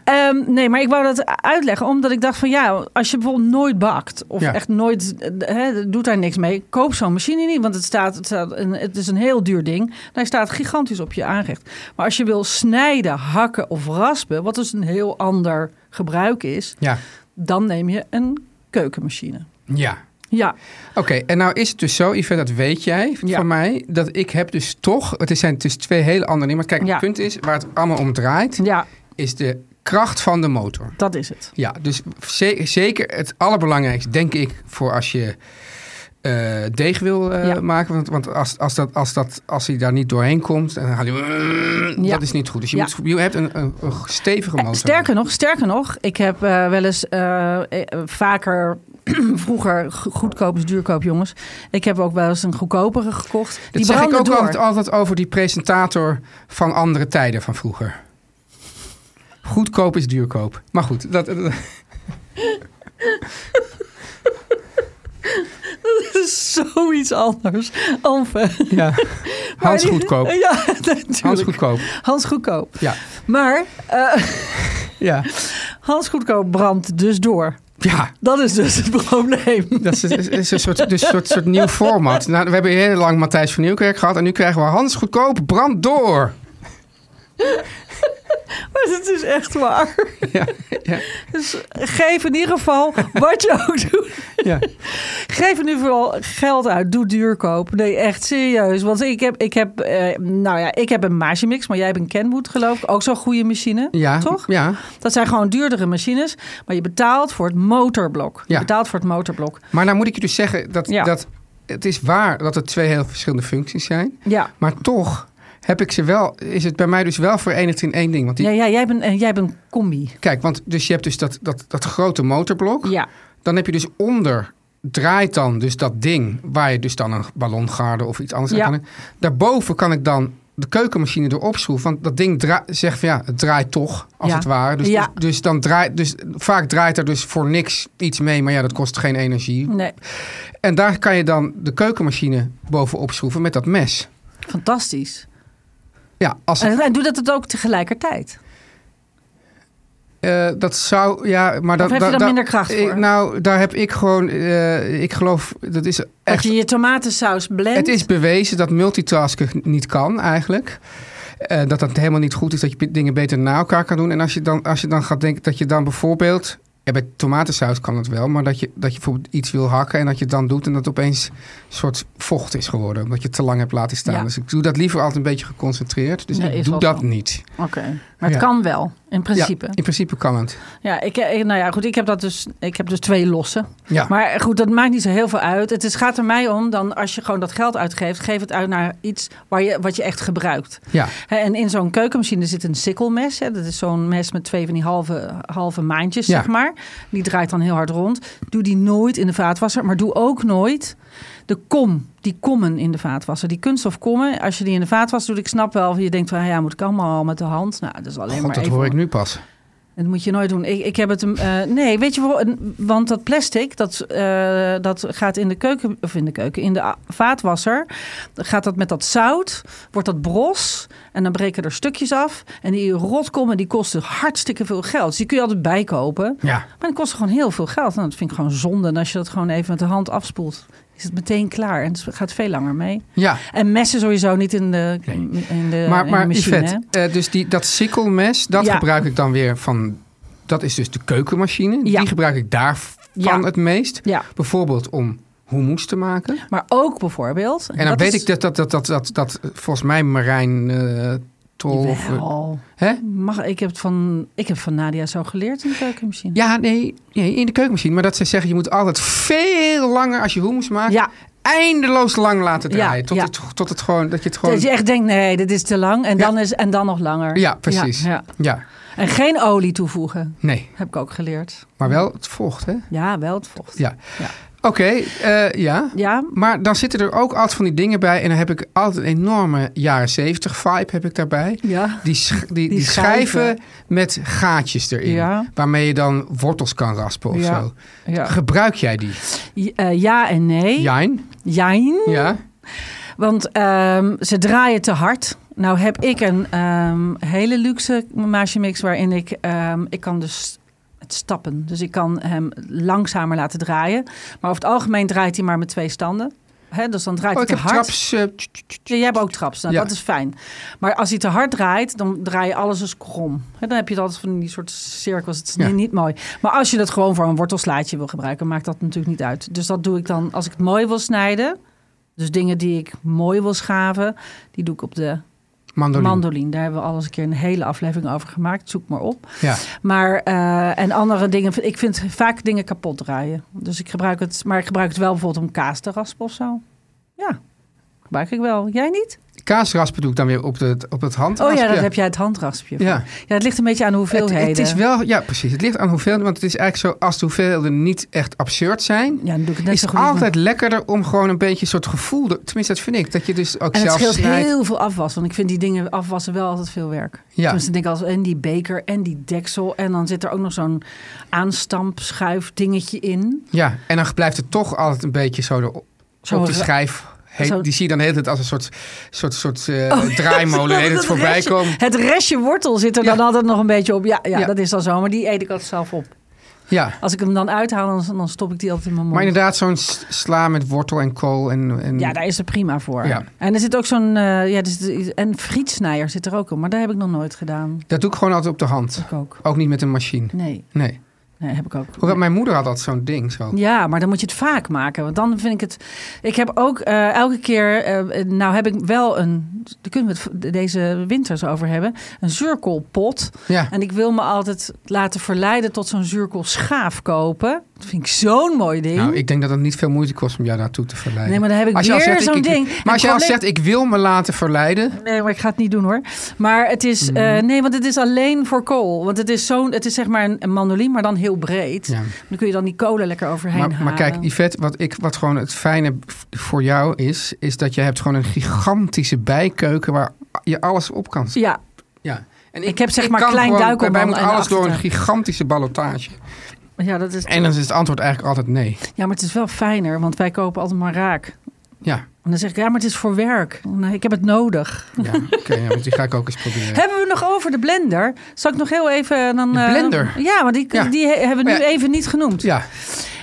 Speaker 4: Ehm, nee, maar ik wou dat uitleggen. Omdat ik dacht van ja, als je bijvoorbeeld nooit bakt. Of
Speaker 3: Ja.
Speaker 4: echt nooit, eh, hè, doet daar niks mee. Koop zo'n machine niet. Want het, staat, het, staat een- het is een heel duur ding. En hij staat gigantisch op je aanrecht. Maar als je wil snijden, hakken of raspen. Wat dus een heel ander gebruik is.
Speaker 3: ja,
Speaker 4: Dan neem je een keukenmachine.
Speaker 3: ja.
Speaker 4: Ja,
Speaker 3: Oké, en nou is het dus zo, Yvette, dat weet jij
Speaker 4: Ja.
Speaker 3: van mij, dat ik heb dus toch, het zijn dus twee hele andere dingen, maar kijk,
Speaker 4: Ja.
Speaker 3: het punt is, waar het allemaal om draait,
Speaker 4: ja
Speaker 3: is de kracht van de motor.
Speaker 4: dat is het.
Speaker 3: Ja, dus ze- zeker het allerbelangrijkste, denk ik, voor als je eh, deeg wil eh,
Speaker 4: Ja.
Speaker 3: maken. Want, want als, als, dat, als, dat, als hij daar niet doorheen komt, dan gaat hij...
Speaker 4: Ja.
Speaker 3: Dat is niet goed. Dus je,
Speaker 4: Ja.
Speaker 3: moet, je hebt een, een, een stevige
Speaker 4: Eh,
Speaker 3: motor.
Speaker 4: Sterker nog, sterker nog, ik heb eh, wel eens eh, eh, vaker vroeger go- goedkoop is duurkoop, jongens. Ik heb ook wel eens een goedkopere gekocht.
Speaker 3: Dat
Speaker 4: die
Speaker 3: zeg ik
Speaker 4: branden
Speaker 3: ook
Speaker 4: door.
Speaker 3: altijd, altijd over die presentator van andere tijden van vroeger. Goedkoop is duurkoop. Maar goed, dat, dat-
Speaker 4: Dat is zoiets anders. Anve.
Speaker 3: ja.
Speaker 4: Maar
Speaker 3: Hans
Speaker 4: die-
Speaker 3: goedkoop.
Speaker 4: Ja, natuurlijk.
Speaker 3: Hans goedkoop.
Speaker 4: Hans goedkoop.
Speaker 3: Ja.
Speaker 4: Maar eh,
Speaker 3: Ja.
Speaker 4: Hans goedkoop brandt dus door.
Speaker 3: ja.
Speaker 4: Dat is dus het probleem.
Speaker 3: Dat is, is- is een soort, dus soort, soort nieuw format. Nou, we hebben heel lang Matthijs van Nieuwkerk gehad. En nu krijgen we Hans Goedkoop, brand door.
Speaker 4: Maar het is echt waar.
Speaker 3: Ja, ja,
Speaker 4: Dus geef in ieder geval wat je ook doet.
Speaker 3: ja.
Speaker 4: Geef er nu vooral geld uit. Doe duurkoop. Nee, echt serieus. Want ik heb, ik heb, eh, nou ja, ik heb een Magimix, maar jij hebt een Kenwood geloof ik. Ook zo'n goede machine,
Speaker 3: ja
Speaker 4: toch?
Speaker 3: Ja,
Speaker 4: Dat zijn gewoon duurdere machines. Maar je betaalt voor het motorblok.
Speaker 3: Ja.
Speaker 4: Je betaalt voor het motorblok.
Speaker 3: maar nou moet ik je dus zeggen dat,
Speaker 4: Ja.
Speaker 3: dat het is waar dat het twee heel verschillende functies zijn.
Speaker 4: Ja.
Speaker 3: Maar toch heb ik ze wel, is het bij mij dus wel verenigd in één ding. Want die,
Speaker 4: Ja, ja jij, bent, en jij bent een combi.
Speaker 3: Kijk, want dus je hebt dus dat, dat, dat grote motorblok.
Speaker 4: Ja.
Speaker 3: Dan heb je dus onder draait dan dus dat ding waar je dus dan een ballongarde of iets anders aan
Speaker 4: Ja.
Speaker 3: kan. Daarboven kan ik dan de keukenmachine erop schroeven, want dat ding dra- zegt van ja, het draait toch als
Speaker 4: Ja.
Speaker 3: het ware. Dus,
Speaker 4: Ja.
Speaker 3: dus, dus dan draait dus vaak draait er dus voor niks iets mee, maar ja, dat kost geen energie.
Speaker 4: Nee,
Speaker 3: En daar kan je dan de keukenmachine bovenop schroeven met dat mes.
Speaker 4: fantastisch.
Speaker 3: Ja, als het,
Speaker 4: En, en doe dat het ook tegelijkertijd.
Speaker 3: Eh, dat zou, ja, maar dat.
Speaker 4: heb je
Speaker 3: dat-
Speaker 4: daar
Speaker 3: dat-
Speaker 4: minder kracht
Speaker 3: ik-
Speaker 4: voor?
Speaker 3: nou, daar heb ik gewoon, eh, ik geloof, dat is echt.
Speaker 4: Dat je je tomatensaus blendt.
Speaker 3: Het is bewezen dat multitasken niet kan eigenlijk. Eh, dat dat helemaal niet goed is, dat je p- dingen beter na elkaar kan doen. En als je dan, als je dan gaat denken dat je dan bijvoorbeeld. Ja, bij tomatensaus kan het wel, maar dat je, dat je bijvoorbeeld iets wil hakken en dat je het dan doet en dat het opeens een soort vocht is geworden. Omdat je het te lang hebt laten staan.
Speaker 4: Ja.
Speaker 3: Dus ik doe dat liever altijd een beetje geconcentreerd. Dus
Speaker 4: Nee,
Speaker 3: ik
Speaker 4: is
Speaker 3: doe
Speaker 4: wel
Speaker 3: dat
Speaker 4: zo.
Speaker 3: niet.
Speaker 4: Oké, maar het
Speaker 3: Ja.
Speaker 4: kan wel, in principe.
Speaker 3: Ja,
Speaker 4: Ja,
Speaker 3: in principe kan het.
Speaker 4: ik, ik- nou ja, goed, ik heb, dat dus, ik heb dus twee lossen.
Speaker 3: Ja.
Speaker 4: Maar goed, dat maakt niet zo heel veel uit. Het is, gaat er mij om, dan als je gewoon dat geld uitgeeft, geef het uit naar iets waar je, wat je echt gebruikt.
Speaker 3: ja.
Speaker 4: Hè, en in zo'n keukenmachine zit een sikkelmes. Hè. Dat is zo'n mes met twee van die halve, halve maandjes,
Speaker 3: Ja.
Speaker 4: zeg maar. Die draait dan heel hard rond. Doe die nooit in de vaatwasser, maar doe ook nooit de kom, die kommen in de vaatwasser. Die kunststofkommen, als je die in de vaatwasser doet, ik snap wel, je denkt van, ja, moet ik allemaal met de hand? Nou, dat is alleen
Speaker 3: God,
Speaker 4: maar
Speaker 3: dat
Speaker 4: even...
Speaker 3: hoor ik nu pas.
Speaker 4: Dat moet je nooit doen. Ik, ik heb het hem. eh, nee, weet je wel, want dat plastic dat, eh, dat gaat in de keuken of in de keuken in de a- vaatwasser. Dan gaat dat met dat zout, wordt dat bros en dan breken er stukjes af en die rotkommen die kosten hartstikke veel geld. Dus die kun je altijd bijkopen,
Speaker 3: Ja.
Speaker 4: maar die kosten gewoon heel veel geld. En dat vind ik gewoon zonde. En als je dat gewoon even met de hand afspoelt, is het meteen klaar en het gaat veel langer mee.
Speaker 3: Ja.
Speaker 4: En messen sowieso niet in de
Speaker 3: Nee.
Speaker 4: in de,
Speaker 3: Maar,
Speaker 4: in
Speaker 3: maar
Speaker 4: de machine.
Speaker 3: Yvette, eh, dus die, dat sikkelmes, dat
Speaker 4: Ja.
Speaker 3: gebruik ik dan weer van... Dat is dus de keukenmachine.
Speaker 4: Ja.
Speaker 3: Die gebruik ik daarvan
Speaker 4: Ja.
Speaker 3: het meest.
Speaker 4: Ja,
Speaker 3: Bijvoorbeeld om hummus te maken.
Speaker 4: maar ook bijvoorbeeld.
Speaker 3: En dan weet
Speaker 4: is-
Speaker 3: ik dat, dat, dat, dat, dat, dat volgens mij Marijn eh Tol... of, eh,
Speaker 4: Jawel.
Speaker 3: Hè?
Speaker 4: Mag, ik, heb het van, ik heb van Nadia zo geleerd in de keukenmachine.
Speaker 3: Ja, nee, nee, in de keukenmachine. Maar dat ze zeggen, je moet altijd veel langer als je hummus maakt...
Speaker 4: Ja.
Speaker 3: eindeloos lang laten draaien.
Speaker 4: Ja,
Speaker 3: tot,
Speaker 4: ja.
Speaker 3: Het, tot het gewoon, dat je het gewoon...
Speaker 4: Dat je echt denkt, nee, dit is te lang. En,
Speaker 3: Ja.
Speaker 4: dan, is, en dan nog langer.
Speaker 3: Ja, precies.
Speaker 4: Ja, ja.
Speaker 3: Ja,
Speaker 4: En geen olie toevoegen.
Speaker 3: nee.
Speaker 4: Heb ik ook geleerd.
Speaker 3: Maar wel het vocht, hè?
Speaker 4: Ja, wel het vocht.
Speaker 3: Ja.
Speaker 4: Ja.
Speaker 3: Oké, eh, ja.
Speaker 4: Ja,
Speaker 3: Maar dan zitten er ook altijd van die dingen bij. En dan heb ik altijd een enorme jaren zeventig vibe heb ik daarbij.
Speaker 4: ja.
Speaker 3: Die, sch- die, die,
Speaker 4: schijven.
Speaker 3: schijven. met gaatjes erin.
Speaker 4: Ja.
Speaker 3: Waarmee je dan wortels kan raspen of
Speaker 4: Ja.
Speaker 3: zo.
Speaker 4: Ja.
Speaker 3: Gebruik jij die?
Speaker 4: J- eh, ja en nee.
Speaker 3: Jijn?
Speaker 4: Jijn.
Speaker 3: Ja.
Speaker 4: Want ehm, ze draaien te hard. Nou heb ik een ehm, hele luxe maasje mix waarin ik... ehm, ik kan dus het stappen. Dus ik kan hem langzamer laten draaien. Maar over het algemeen draait hij maar met twee standen. Hè, dus dan draait
Speaker 3: Oh,
Speaker 4: hij
Speaker 3: ik
Speaker 4: te
Speaker 3: heb
Speaker 4: hard.
Speaker 3: traps. eh, tch, tch, tch.
Speaker 4: Ja, jij hebt ook traps. Nou,
Speaker 3: Ja.
Speaker 4: Dat is fijn. Maar als hij te hard draait, dan draai je alles eens krom. Hè, dan heb je het altijd van die soort cirkels. Het is
Speaker 3: Ja.
Speaker 4: niet, niet mooi. Maar als je dat gewoon voor een wortelslaatje wil gebruiken, maakt dat natuurlijk niet uit. Dus dat doe ik dan als ik het mooi wil snijden. Dus dingen die ik mooi wil schaven, die doe ik op de
Speaker 3: mandoline.
Speaker 4: mandolin. Daar hebben we al eens een keer een hele aflevering over gemaakt. Zoek maar op.
Speaker 3: ja.
Speaker 4: Maar eh, en andere dingen. Ik vind vaak dingen kapot draaien. Dus ik gebruik het. Maar ik gebruik het wel bijvoorbeeld om kaas te raspen of zo. Ja, gebruik ik wel. Jij niet?
Speaker 3: Kaasraspen doe ik dan weer op, de, op het hand.
Speaker 4: Oh ja, dat heb jij het handraspje.
Speaker 3: Ja.
Speaker 4: Ja. ja, het ligt een beetje aan de
Speaker 3: Het,
Speaker 4: hoeveelheden.
Speaker 3: het is wel, ja precies. Het ligt aan hoeveel, want het is eigenlijk zo als de hoeveelheden niet echt absurd zijn,
Speaker 4: Ja, dan doe ik het net
Speaker 3: is
Speaker 4: zo
Speaker 3: het
Speaker 4: goed. niet
Speaker 3: altijd lekkerder om gewoon een beetje een soort gevoel, er- tenminste dat vind ik, dat je dus ook
Speaker 4: meer. En het
Speaker 3: zelf
Speaker 4: scheelt
Speaker 3: snijdt.
Speaker 4: heel veel afwas. Want ik vind die dingen afwassen wel altijd veel werk.
Speaker 3: Ja.
Speaker 4: Dus dan denk ik als en die beker en die deksel. En dan zit er ook nog zo'n aanstampschuif dingetje in.
Speaker 3: Ja, en dan blijft het toch altijd een beetje zo erop-
Speaker 4: Zo
Speaker 3: op die
Speaker 4: ra-
Speaker 3: schijf. Heet,
Speaker 4: zo- Oh,
Speaker 3: Die zie je dan de hele tijd als een soort, soort, soort eh, draaimolen heet het voorbij
Speaker 4: restje,
Speaker 3: komen.
Speaker 4: Het restje wortel zit er
Speaker 3: Ja.
Speaker 4: dan altijd nog een beetje op. Ja, ja,
Speaker 3: Ja.
Speaker 4: dat is dan zo. Maar die eet ik altijd zelf op.
Speaker 3: Ja,
Speaker 4: Als ik hem dan uithaal, dan, dan stop ik die altijd in mijn mond.
Speaker 3: maar inderdaad zo'n s- sla met wortel en kool. En, en,
Speaker 4: Ja, daar is er prima voor.
Speaker 3: Ja.
Speaker 4: En er zit ook zo'n... eh, ja, er zit- en frietsnijer zit er ook op. Maar dat heb ik nog nooit gedaan.
Speaker 3: Dat doe ik gewoon altijd op de hand.
Speaker 4: Ik ook.
Speaker 3: Ook niet met een machine.
Speaker 4: Nee,
Speaker 3: Nee.
Speaker 4: nee heb ik ook.
Speaker 3: Hoewel, mijn moeder had altijd zo'n ding zo.
Speaker 4: Ja, maar dan moet je het vaak maken. Want dan vind ik het. Ik heb ook eh, elke keer. eh, nou, heb ik wel een. Daar kunnen we het v- deze winters over hebben. Een zuurkoolpot.
Speaker 3: Ja.
Speaker 4: En ik wil me altijd laten verleiden tot zo'n zuurkoolschaaf kopen. Dat vind ik zo'n mooi ding.
Speaker 3: Nou, ik denk dat het niet veel moeite kost om jou daartoe te verleiden.
Speaker 4: Nee, maar dan heb ik
Speaker 3: Als je al
Speaker 4: weer
Speaker 3: zegt, ik-
Speaker 4: zo'n
Speaker 3: ik-
Speaker 4: ding.
Speaker 3: Maar als
Speaker 4: En
Speaker 3: je al
Speaker 4: collega-
Speaker 3: zegt, ik wil me laten verleiden.
Speaker 4: Nee, maar ik ga het niet doen hoor. Maar het is.
Speaker 3: Mhm.
Speaker 4: eh, nee, want het is alleen voor kool. Want het is zo'n. Het is zeg maar een, een mandolin, maar dan heel breed.
Speaker 3: Ja.
Speaker 4: Dan kun je dan die kolen lekker overheen
Speaker 3: Maar,
Speaker 4: halen.
Speaker 3: maar kijk, Yvette, wat, ik, wat gewoon het fijne v- voor jou is... is dat je hebt gewoon een gigantische bijkeuken... waar je alles op kan zetten.
Speaker 4: Ja,
Speaker 3: Ja. En
Speaker 4: Ik heb zeg maar
Speaker 3: kan
Speaker 4: klein
Speaker 3: gewoon-
Speaker 4: duikelman
Speaker 3: Bij mij moet
Speaker 4: en
Speaker 3: alles door een
Speaker 4: achtertuin.
Speaker 3: gigantische ballotage.
Speaker 4: ja, dat is.
Speaker 3: En dan is het antwoord eigenlijk altijd nee.
Speaker 4: Ja, maar het is wel fijner, want wij kopen altijd maar raak.
Speaker 3: Ja,
Speaker 4: En dan zeg ik, ja, maar het is voor werk. Nee, ik heb het nodig.
Speaker 3: ja oké, ja, want die ga ik ook eens proberen.
Speaker 4: Hebben we nog over de blender? Zal ik nog heel even... Dan,
Speaker 3: De
Speaker 4: eh,
Speaker 3: blender?
Speaker 4: ja, maar die,
Speaker 3: Ja.
Speaker 4: die he- hebben we nu
Speaker 3: Ja.
Speaker 4: even niet genoemd.
Speaker 3: Ja,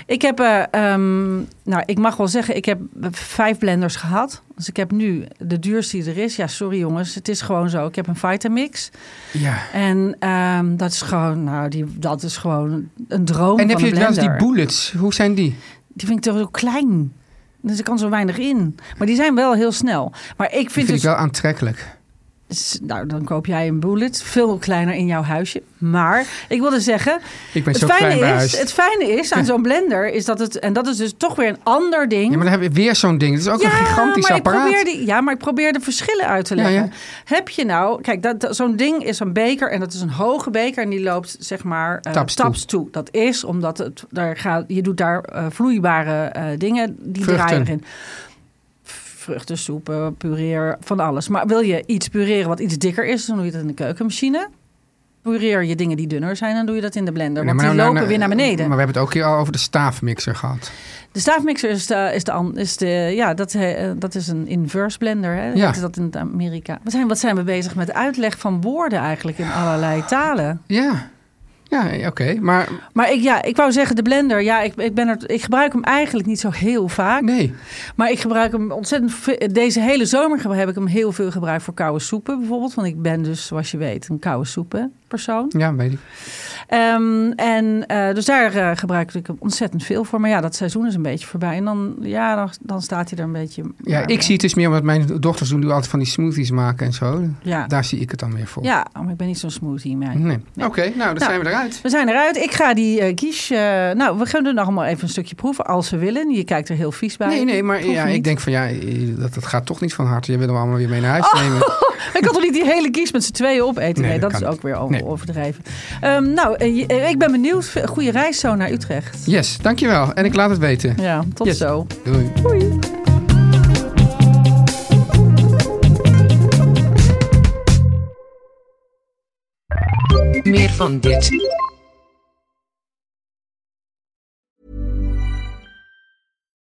Speaker 4: Ik heb, eh, ehm, nou, ik mag wel zeggen, ik heb vijf blenders gehad. Dus ik heb nu de duurste die er is. Ja, sorry jongens, het is gewoon zo. Ik heb een Vitamix.
Speaker 3: ja.
Speaker 4: En ehm, dat is gewoon, nou, die, dat is gewoon een
Speaker 3: En
Speaker 4: droom van
Speaker 3: heb je
Speaker 4: een
Speaker 3: wel eens die
Speaker 4: blender.
Speaker 3: bullets? Hoe zijn die?
Speaker 4: Die vind ik toch zo klein. Dus er kan zo weinig in. Maar die zijn wel heel snel. Maar ik
Speaker 3: Die
Speaker 4: vind,
Speaker 3: vind ik
Speaker 4: dus...
Speaker 3: wel aantrekkelijk.
Speaker 4: S- Nou, dan koop jij een bullet. Veel kleiner in jouw huisje. Maar ik wilde zeggen...
Speaker 3: Ik ben
Speaker 4: Het
Speaker 3: zo klein bij
Speaker 4: fijne,
Speaker 3: huis.
Speaker 4: is, het fijne is aan zo'n blender... Is dat het, en dat is dus toch weer een ander ding...
Speaker 3: Ja, maar dan heb je weer zo'n ding. Dat is ook een gigantisch
Speaker 4: maar
Speaker 3: apparaat.
Speaker 4: Ik probeer die, ja, maar ik probeer de verschillen uit te
Speaker 3: Ja,
Speaker 4: leggen.
Speaker 3: ja.
Speaker 4: Heb je nou... Kijk, dat, dat- zo'n ding is een beker en dat is een hoge beker... en die loopt, zeg maar, eh,
Speaker 3: Taps toe.
Speaker 4: Dat is omdat het, daar gaat, je doet daar eh, vloeibare eh, dingen... die
Speaker 3: Vruchten.
Speaker 4: draaien erin. Vruchtensoepen, pureer, van alles. Maar wil je iets pureren wat iets dikker is... dan doe je dat in de keukenmachine. pureer je dingen die dunner zijn, dan doe je dat in de
Speaker 3: Nee,
Speaker 4: blender. Want
Speaker 3: maar
Speaker 4: die
Speaker 3: nou- nou-
Speaker 4: lopen
Speaker 3: nou-
Speaker 4: weer naar beneden.
Speaker 3: Maar we hebben het ook hier al over de staafmixer gehad.
Speaker 4: De staafmixer is de, is de, an- is de ja, dat, eh, dat is een inverse blender. Hè?
Speaker 3: Ja.
Speaker 4: Heet dat in Amerika. Wat zijn, wat zijn we bezig met uitleg van woorden eigenlijk in
Speaker 3: Ah.
Speaker 4: allerlei talen?
Speaker 3: Ja, ja oké. Maar
Speaker 4: Maar ik, ja, ik wou zeggen, de blender, ja, ik, ik, ben er, ik gebruik hem eigenlijk niet zo heel vaak.
Speaker 3: nee.
Speaker 4: Maar ik gebruik hem ontzettend ve- Deze hele zomer ge- heb ik hem heel veel gebruikt voor koude soepen bijvoorbeeld. Want ik ben dus, zoals je weet, een koude soepen persoon.
Speaker 3: Ja, weet ik.
Speaker 4: Ehm, en eh, dus daar eh, gebruik ik hem ontzettend veel voor. Maar ja, dat seizoen is een beetje voorbij. En dan, ja, dan, dan staat hij er een beetje.
Speaker 3: Ja, ik zie het dus meer omdat mijn dochters doen nu altijd van die smoothies maken en zo.
Speaker 4: Ja.
Speaker 3: Daar zie ik het dan weer voor.
Speaker 4: Ja, oh, maar ik ben niet zo'n smoothie man.
Speaker 3: Nee. Oké, nou, dan
Speaker 4: Nou.
Speaker 3: zijn we eruit.
Speaker 4: We zijn eruit. Ik ga die eh quiche... eh, nou, we gaan er nog allemaal even een stukje proeven, als ze willen. Je kijkt er heel vies bij.
Speaker 3: Nee, nee, maar
Speaker 4: Proef
Speaker 3: ja,
Speaker 4: niet.
Speaker 3: ik denk van ja, eh, dat, dat gaat toch niet van harte. Je wil hem allemaal weer mee naar huis
Speaker 4: Oh.
Speaker 3: nemen.
Speaker 4: Ik kan toch niet die hele kies met z'n tweeën opeten? Nee,
Speaker 3: Nee,
Speaker 4: dat,
Speaker 3: dat
Speaker 4: is
Speaker 3: kan
Speaker 4: ook weer over,
Speaker 3: Nee.
Speaker 4: overdreven. Ehm, nou, eh, je- eh, ik ben benieuwd. Goede reis zo naar Utrecht.
Speaker 3: Yes, dankjewel. En ik laat het weten.
Speaker 4: Ja, tot
Speaker 3: Yes.
Speaker 4: zo.
Speaker 3: Doei.
Speaker 5: Meer van dit.